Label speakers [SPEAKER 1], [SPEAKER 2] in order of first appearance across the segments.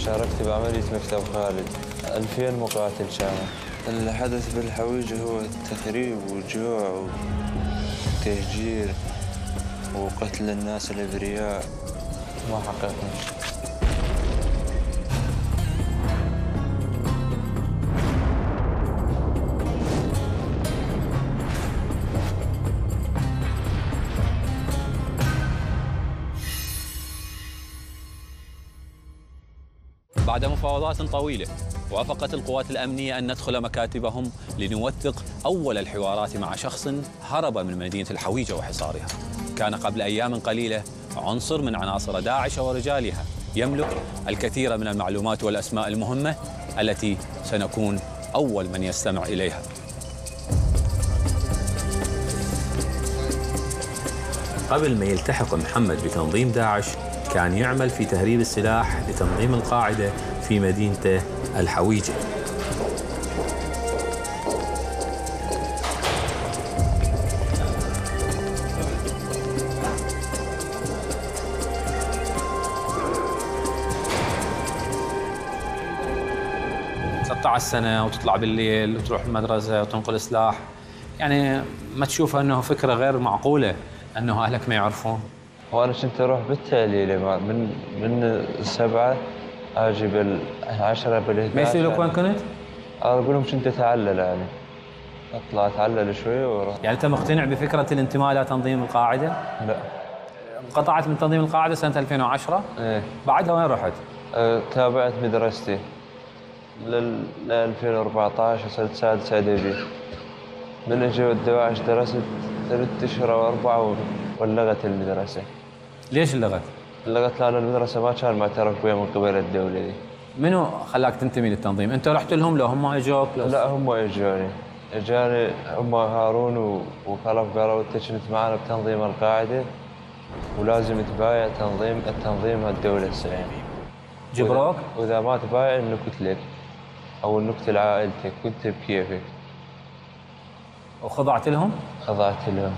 [SPEAKER 1] شاركت بعملية مكتب خالد 2000 مقاتل شامل
[SPEAKER 2] اللي حدث بالحويجة هو تثريب وجوع وتهجير وقتل الناس الأبرياء
[SPEAKER 1] ما حققنا شيء
[SPEAKER 3] بعد مفاوضات طويلة وافقت القوات الأمنية أن ندخل مكاتبهم لنوثق أول الحوارات مع شخص هرب من مدينة الحويجة وحصارها كان قبل أيام قليلة عنصر من عناصر داعش ورجالها يملك الكثير من المعلومات والأسماء المهمة التي سنكون أول من يستمع إليها
[SPEAKER 4] قبل ما يلتحق محمد بتنظيم داعش كان يعمل في تهريب السلاح لتنظيم القاعدة في مدينته الحويجة
[SPEAKER 5] تقطع السنة وتطلع بالليل وتروح المدرسة وتنقل سلاح يعني ما تشوفها أنه فكرة غير معقولة أنه أهلك ما يعرفون
[SPEAKER 1] وانا كنت اروح بالتعليلة ما- من من السبعة اجي بالعشرة بالهداية
[SPEAKER 5] ما يسألوك وين كنت؟
[SPEAKER 1] اقول لهم كنت اتعلل يعني اطلع اتعلل شوي واروح
[SPEAKER 5] يعني أنت مقتنع بفكرة الانتماء إلى تنظيم القاعدة
[SPEAKER 1] لا
[SPEAKER 5] انقطعت من تنظيم القاعدة سنة 2010
[SPEAKER 1] ايه
[SPEAKER 5] بعدها وين رحت؟
[SPEAKER 1] أه، تابعت مدرستي لل لل 2014 وصلت سادس ادبي من اجوا الدواعش درست ثلاث اشهر او اربعه ولغت المدرسه
[SPEAKER 5] ليش اللغة؟
[SPEAKER 1] لغت لان المدرسه ما كان معترف بها من قبل الدوله دي
[SPEAKER 5] منو خلاك تنتمي للتنظيم؟ أنت رحت لهم لو هم أجوك لو
[SPEAKER 1] لا هم اجوني اجاني هم هارون و- وخلف قالوا انت كنت معنا بتنظيم القاعده ولازم تبايع تنظيم التنظيم الدوله السعيدة
[SPEAKER 5] جبروك؟
[SPEAKER 1] واذا ما تبايع نكت لك او نكت لعائلتك وانت بكيفك
[SPEAKER 5] وخضعت لهم؟
[SPEAKER 1] خضعت لهم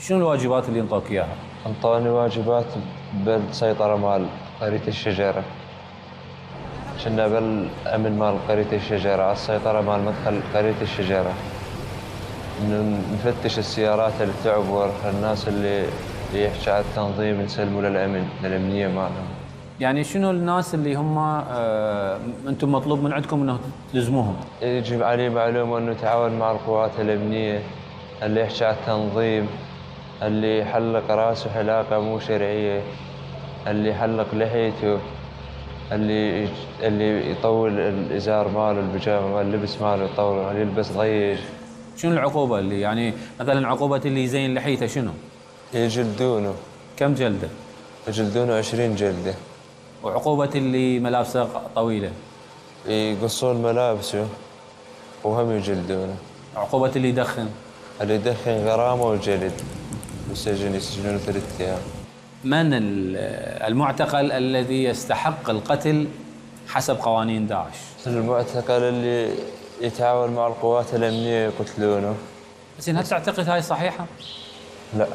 [SPEAKER 5] شنو الواجبات اللي انطوك إياها؟
[SPEAKER 1] انطوني واجبات بالسيطره مال قريه الشجره كنا بالامن مال قريه الشجره على السيطره مال مدخل قريه الشجره إنه نفتش السيارات اللي تعبر الناس اللي اللي يحكي على التنظيم نسلموا للامن للامنيه مالهم
[SPEAKER 5] يعني شنو الناس اللي هم آه انتم مطلوب من عندكم انه تلزموهم؟
[SPEAKER 1] يجب عليه معلومة أنه تعاون مع القوات الأمنية اللي يحكي على التنظيم اللي يحلق راسه حلاقة مو شرعية اللي يحلق لحيته اللي يج- اللي يطول الإزار ماله البيجامة ماله اللبس ماله يطوله اللي يلبس ضيج
[SPEAKER 5] شنو العقوبة اللي يعني مثلا عقوبة اللي يزين لحيته شنو؟
[SPEAKER 1] يجلدونه
[SPEAKER 5] كم جلدة؟
[SPEAKER 1] يجلدونه عشرين جلدة
[SPEAKER 5] وعقوبة اللي ملابسه ق- طويلة؟
[SPEAKER 1] يقصون ملابسه وهم يجلدونه
[SPEAKER 5] عقوبة اللي يدخن؟
[SPEAKER 1] اللي يدخن غرامة وجلد والسجن يسجنونه ثلاث أيام
[SPEAKER 5] من ال- المعتقل الذي يستحق القتل حسب قوانين داعش؟
[SPEAKER 1] المعتقل اللي يتعاون مع القوات الأمنية يقتلونه
[SPEAKER 5] بس هل تعتقد هاي صحيحة؟
[SPEAKER 1] لا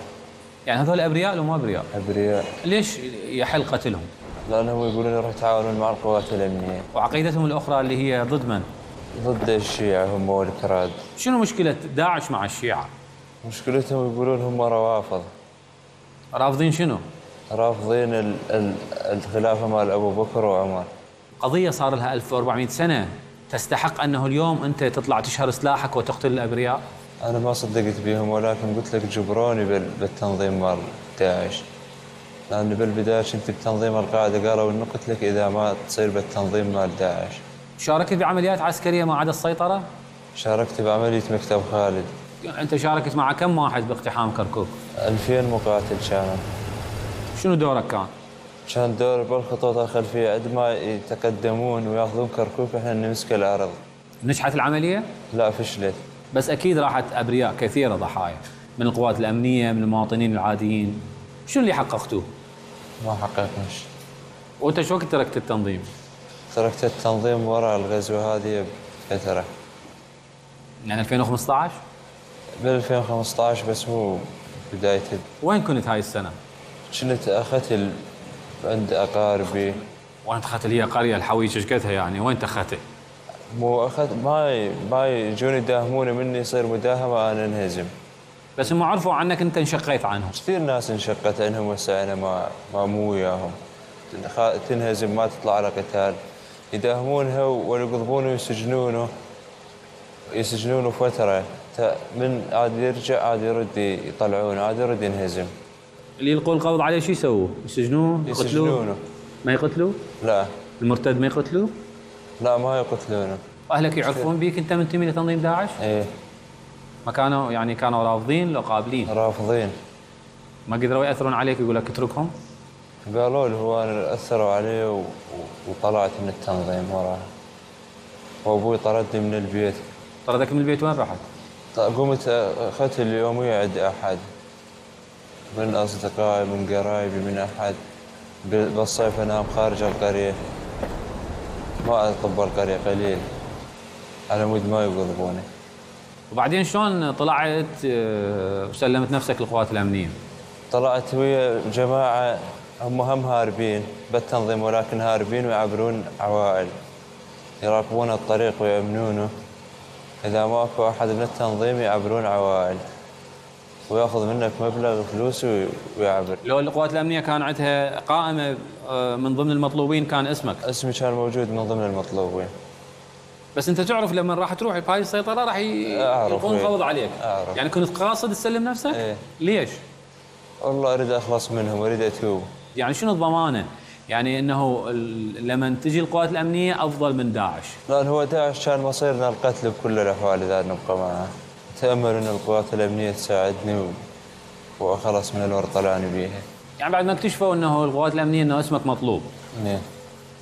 [SPEAKER 5] يعني هذول أبرياء لو ما أبرياء؟
[SPEAKER 1] أبرياء
[SPEAKER 5] ليش يحل قتلهم؟
[SPEAKER 1] لأنهم يقولون راح يتعاونون مع القوات الأمنية
[SPEAKER 5] وعقيدتهم الأخرى اللي هي ضد من؟
[SPEAKER 1] ضد الشيعة هم والكراد
[SPEAKER 5] شنو مشكلة داعش مع الشيعة؟
[SPEAKER 1] مشكلتهم يقولون هم روافض
[SPEAKER 5] رافضين شنو؟
[SPEAKER 1] رافضين ال ال الخلافة مال أبو بكر وعمر
[SPEAKER 5] قضية صار لها 1400 سنة تستحق أنه اليوم أنت تطلع تشهر سلاحك وتقتل الأبرياء
[SPEAKER 1] أنا ما صدقت بهم ولكن قلت لك جبروني بال بالتنظيم مال داعش لأن بالبداية كنت بتنظيم القاعدة قالوا إنه قلت لك إذا ما تصير بالتنظيم مال داعش
[SPEAKER 5] شاركت بعمليات عسكرية ما عدا السيطرة
[SPEAKER 1] شاركت بعملية مكتب خالد
[SPEAKER 5] أنت شاركت مع كم واحد باقتحام كركوك
[SPEAKER 1] 2000 مقاتل كانوا
[SPEAKER 5] شنو دورك كان؟
[SPEAKER 1] كان دور بالخطوط الخلفية قد ما يتقدمون وياخذون كركوك احنا نمسك الأرض
[SPEAKER 5] نجحت العملية؟
[SPEAKER 1] لا فشلت
[SPEAKER 5] بس أكيد راحت أبرياء كثيرة ضحايا من القوات الأمنية من المواطنين العاديين شنو اللي حققتوه؟
[SPEAKER 1] ما حققنا شيء
[SPEAKER 5] وأنت شو وقت تركت التنظيم؟
[SPEAKER 1] تركت التنظيم وراء الغزوة هذه بفترة
[SPEAKER 5] يعني 2015
[SPEAKER 1] بال 2015 بس مو بداية
[SPEAKER 5] وين كنت هاي السنة؟
[SPEAKER 1] كنت أختل عند أقاربي
[SPEAKER 5] وين تخت هي قريه الحويجه ايش قدها يعني وين تخته؟
[SPEAKER 1] مو اخذ ما ي- ما يجون يداهموني مني يصير مداهمه انا انهزم
[SPEAKER 5] بس هم عرفوا عنك انت انشقيت عنهم
[SPEAKER 1] كثير ناس انشقت عنهم هسه انا ما ما مو وياهم تنخ- تنهزم ما تطلع على قتال يداهمونها ويقضبونه ويسجنونه يسجنونه فتره تا- من عاد يرجع عاد يرد يطلعونه عاد يرد ينهزم
[SPEAKER 5] اللي يلقوا القبض عليه شو يسووا؟ يسجنوه؟
[SPEAKER 1] يسجنونه
[SPEAKER 5] ما يقتلوه؟
[SPEAKER 1] لا
[SPEAKER 5] المرتد ما يقتلوه؟
[SPEAKER 1] لا ما يقتلونه
[SPEAKER 5] اهلك يعرفون بيك انت منتمي لتنظيم داعش؟
[SPEAKER 1] ايه
[SPEAKER 5] ما كانوا يعني كانوا رافضين لو قابلين
[SPEAKER 1] رافضين
[SPEAKER 5] ما قدروا ياثرون عليك يقول لك اتركهم
[SPEAKER 1] قالوا له هو انا اثروا علي و... وطلعت من التنظيم وراها وابوي طردني من البيت
[SPEAKER 5] طردك من البيت وين رحت؟
[SPEAKER 1] ط- قمت اخذت اليوميه عند احد من اصدقائي من قرايبي من احد بال- بالصيف انام خارج القريه ما اطب القريه قليل على مود ما يقضبوني
[SPEAKER 5] وبعدين شلون طلعت آه، وسلمت نفسك للقوات الامنيه؟
[SPEAKER 1] طلعت ويا جماعة هم هم هاربين بالتنظيم ولكن هاربين ويعبرون عوائل يراقبون الطريق ويأمنونه إذا ماكو أحد من التنظيم يعبرون عوائل وياخذ منك مبلغ فلوس وي- ويعبر
[SPEAKER 5] لو القوات الامنيه كان عندها قائمه آه، من ضمن المطلوبين كان اسمك
[SPEAKER 1] اسمي كان موجود من ضمن المطلوبين
[SPEAKER 5] بس انت تعرف لما راح تروح بهاي السيطره راح ي-
[SPEAKER 1] أعرف،
[SPEAKER 5] يلقون
[SPEAKER 1] إيه.
[SPEAKER 5] قبض عليك
[SPEAKER 1] أعرف.
[SPEAKER 5] يعني كنت قاصد تسلم نفسك؟
[SPEAKER 1] إيه.
[SPEAKER 5] ليش؟
[SPEAKER 1] والله أريد أخلص منهم أريد أتوب
[SPEAKER 5] يعني شنو الضمانه؟ يعني انه ال- لما تجي القوات الامنيه افضل من داعش
[SPEAKER 1] لأن هو داعش كان مصيرنا القتل بكل الأحوال إذا نبقى معه أتأمل أن القوات الأمنية تساعدني و... وأخلص من الورطة اللي أنا بيها
[SPEAKER 5] يعني بعد ما اكتشفوا انه القوات الامنيه انه اسمك مطلوب
[SPEAKER 1] إيه.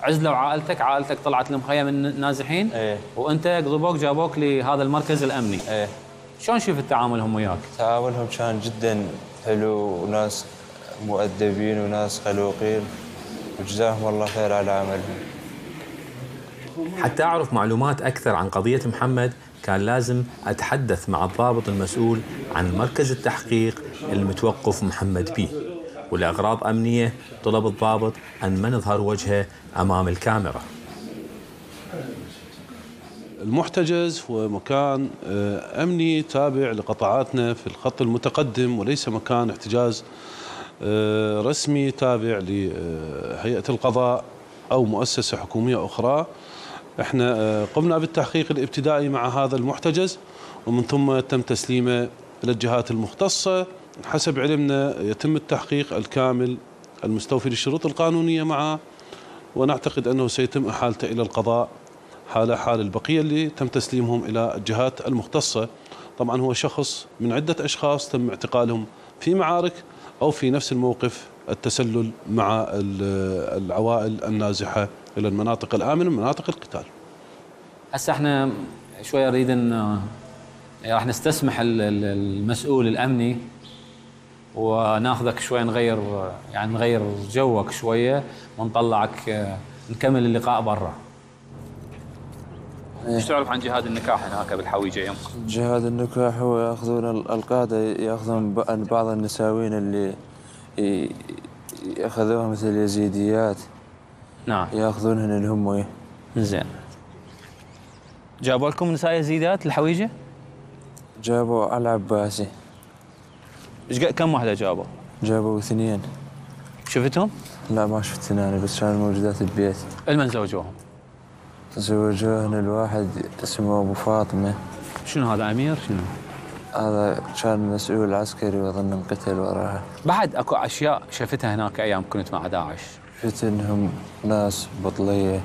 [SPEAKER 5] عزلوا عائلتك عائلتك طلعت المخيم من النازحين
[SPEAKER 1] إيه.
[SPEAKER 5] وانت قضبوك جابوك لهذا المركز الامني
[SPEAKER 1] إيه.
[SPEAKER 5] شلون شفت تعاملهم وياك
[SPEAKER 1] تعاملهم كان جدا حلو وناس مؤدبين وناس خلوقين وجزاهم الله خير على عملهم
[SPEAKER 4] حتى أعرف معلومات أكثر عن قضية محمد كان لازم أتحدث مع الضابط المسؤول عن مركز التحقيق المتوقف محمد بيه ولأغراض أمنية طلب الضابط أن ما نظهر وجهه أمام الكاميرا
[SPEAKER 6] المحتجز هو مكان آه، أمني تابع لقطاعاتنا في الخط المتقدم وليس مكان احتجاز آه، رسمي تابع لهيئة القضاء أو مؤسسة حكومية أخرى احنا آه، قمنا بالتحقيق الابتدائي مع هذا المحتجز ومن ثم تم تسليمه للجهات المختصة حسب علمنا يتم التحقيق الكامل المستوفي للشروط القانونية معه ونعتقد أنه سيتم إحالته إلى القضاء حال حال البقية اللي تم تسليمهم إلى الجهات المختصة طبعا هو شخص من عدة أشخاص تم اعتقالهم في معارك أو في نفس الموقف التسلل مع ال- العوائل النازحة إلى المناطق الآمنة مناطق القتال
[SPEAKER 5] هسه احنا شوي اريد ان راح نستسمح ال- ال- المسؤول الامني وناخذك شوي نغير يعني نغير جوك شويه ونطلعك آه، نكمل اللقاء برا. ايش إيه. تعرف عن جهاد النكاح هناك بالحويجه يمك؟
[SPEAKER 1] جهاد النكاح هو ياخذون ال- القاده ياخذون ب- بعض النساوين اللي ي- ياخذوها مثل اليزيديات
[SPEAKER 5] نعم
[SPEAKER 1] ياخذونهن الهم
[SPEAKER 5] زين. جابوا لكم نساء يزيدات الحويجه؟
[SPEAKER 1] جابوا على العباسي
[SPEAKER 5] إيش قد- كم واحده جابوا؟
[SPEAKER 1] جابوا اثنين
[SPEAKER 5] شفتهم؟
[SPEAKER 1] لا ما شفتن انا بس كانوا موجودات ببيت
[SPEAKER 5] المن زوجوهم.
[SPEAKER 1] تزوجوهن الواحد اسمه ابو فاطمه
[SPEAKER 5] شنو هذا امير؟ شنو؟
[SPEAKER 1] هذا كان مسؤول عسكري واظن انقتل وراها
[SPEAKER 5] بعد اكو اشياء شفتها هناك ايام كنت مع داعش
[SPEAKER 1] فتنهم ناس بطليه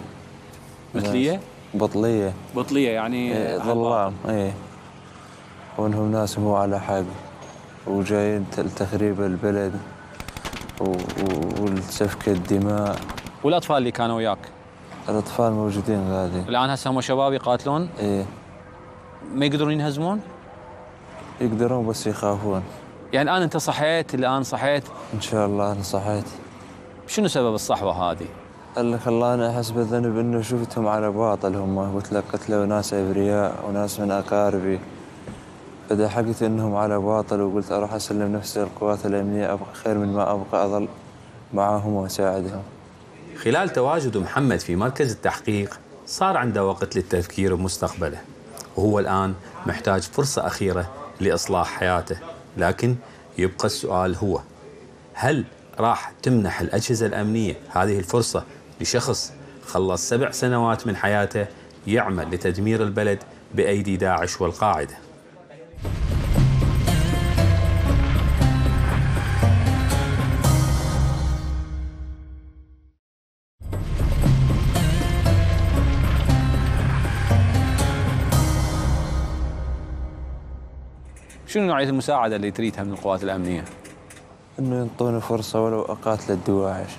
[SPEAKER 5] مثليه؟
[SPEAKER 1] ناس بطليه
[SPEAKER 5] بطليه يعني
[SPEAKER 1] إيه، ظلام اي وانهم ناس مو على حق وجايين ت- لتخريب البلد و- و- والسفك الدماء
[SPEAKER 5] والاطفال اللي كانوا وياك
[SPEAKER 1] الاطفال موجودين غادي
[SPEAKER 5] الان هسه هم شباب يقاتلون
[SPEAKER 1] ايه
[SPEAKER 5] ما يقدرون ينهزمون
[SPEAKER 1] يقدرون بس يخافون
[SPEAKER 5] يعني الان انت صحيت الان صحيت
[SPEAKER 1] ان شاء الله انا صحيت
[SPEAKER 5] شنو سبب الصحوه هذه
[SPEAKER 1] اللي خلاني احس بالذنب انه شفتهم على باطل هم قلت لك قتلوا ناس ابرياء وناس من اقاربي فدحقت انهم على باطل وقلت اروح اسلم نفسي للقوات الامنيه ابقى خير من ما ابقى اظل معاهم واساعدهم
[SPEAKER 5] خلال تواجد محمد في مركز التحقيق صار عنده وقت للتفكير بمستقبله وهو الآن محتاج فرصة أخيرة لإصلاح حياته لكن يبقى السؤال هو هل راح تمنح الأجهزة الأمنية هذه الفرصة لشخص خلص سبع سنوات من حياته يعمل لتدمير البلد بأيدي داعش والقاعدة
[SPEAKER 7] شنو نوعيه المساعده اللي تريدها من القوات الامنيه؟
[SPEAKER 1] انه ينطوني فرصه ولو اقاتل الدواعش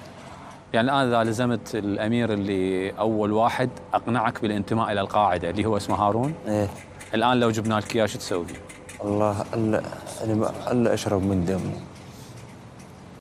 [SPEAKER 7] يعني الان اذا لزمت الامير اللي اول واحد اقنعك بالانتماء الى القاعده اللي هو اسمه هارون
[SPEAKER 1] ايه
[SPEAKER 7] الان لو جبنا لك اياه شو تسوي؟
[SPEAKER 1] يعني الله الا أنا ما- الا اشرب من دمه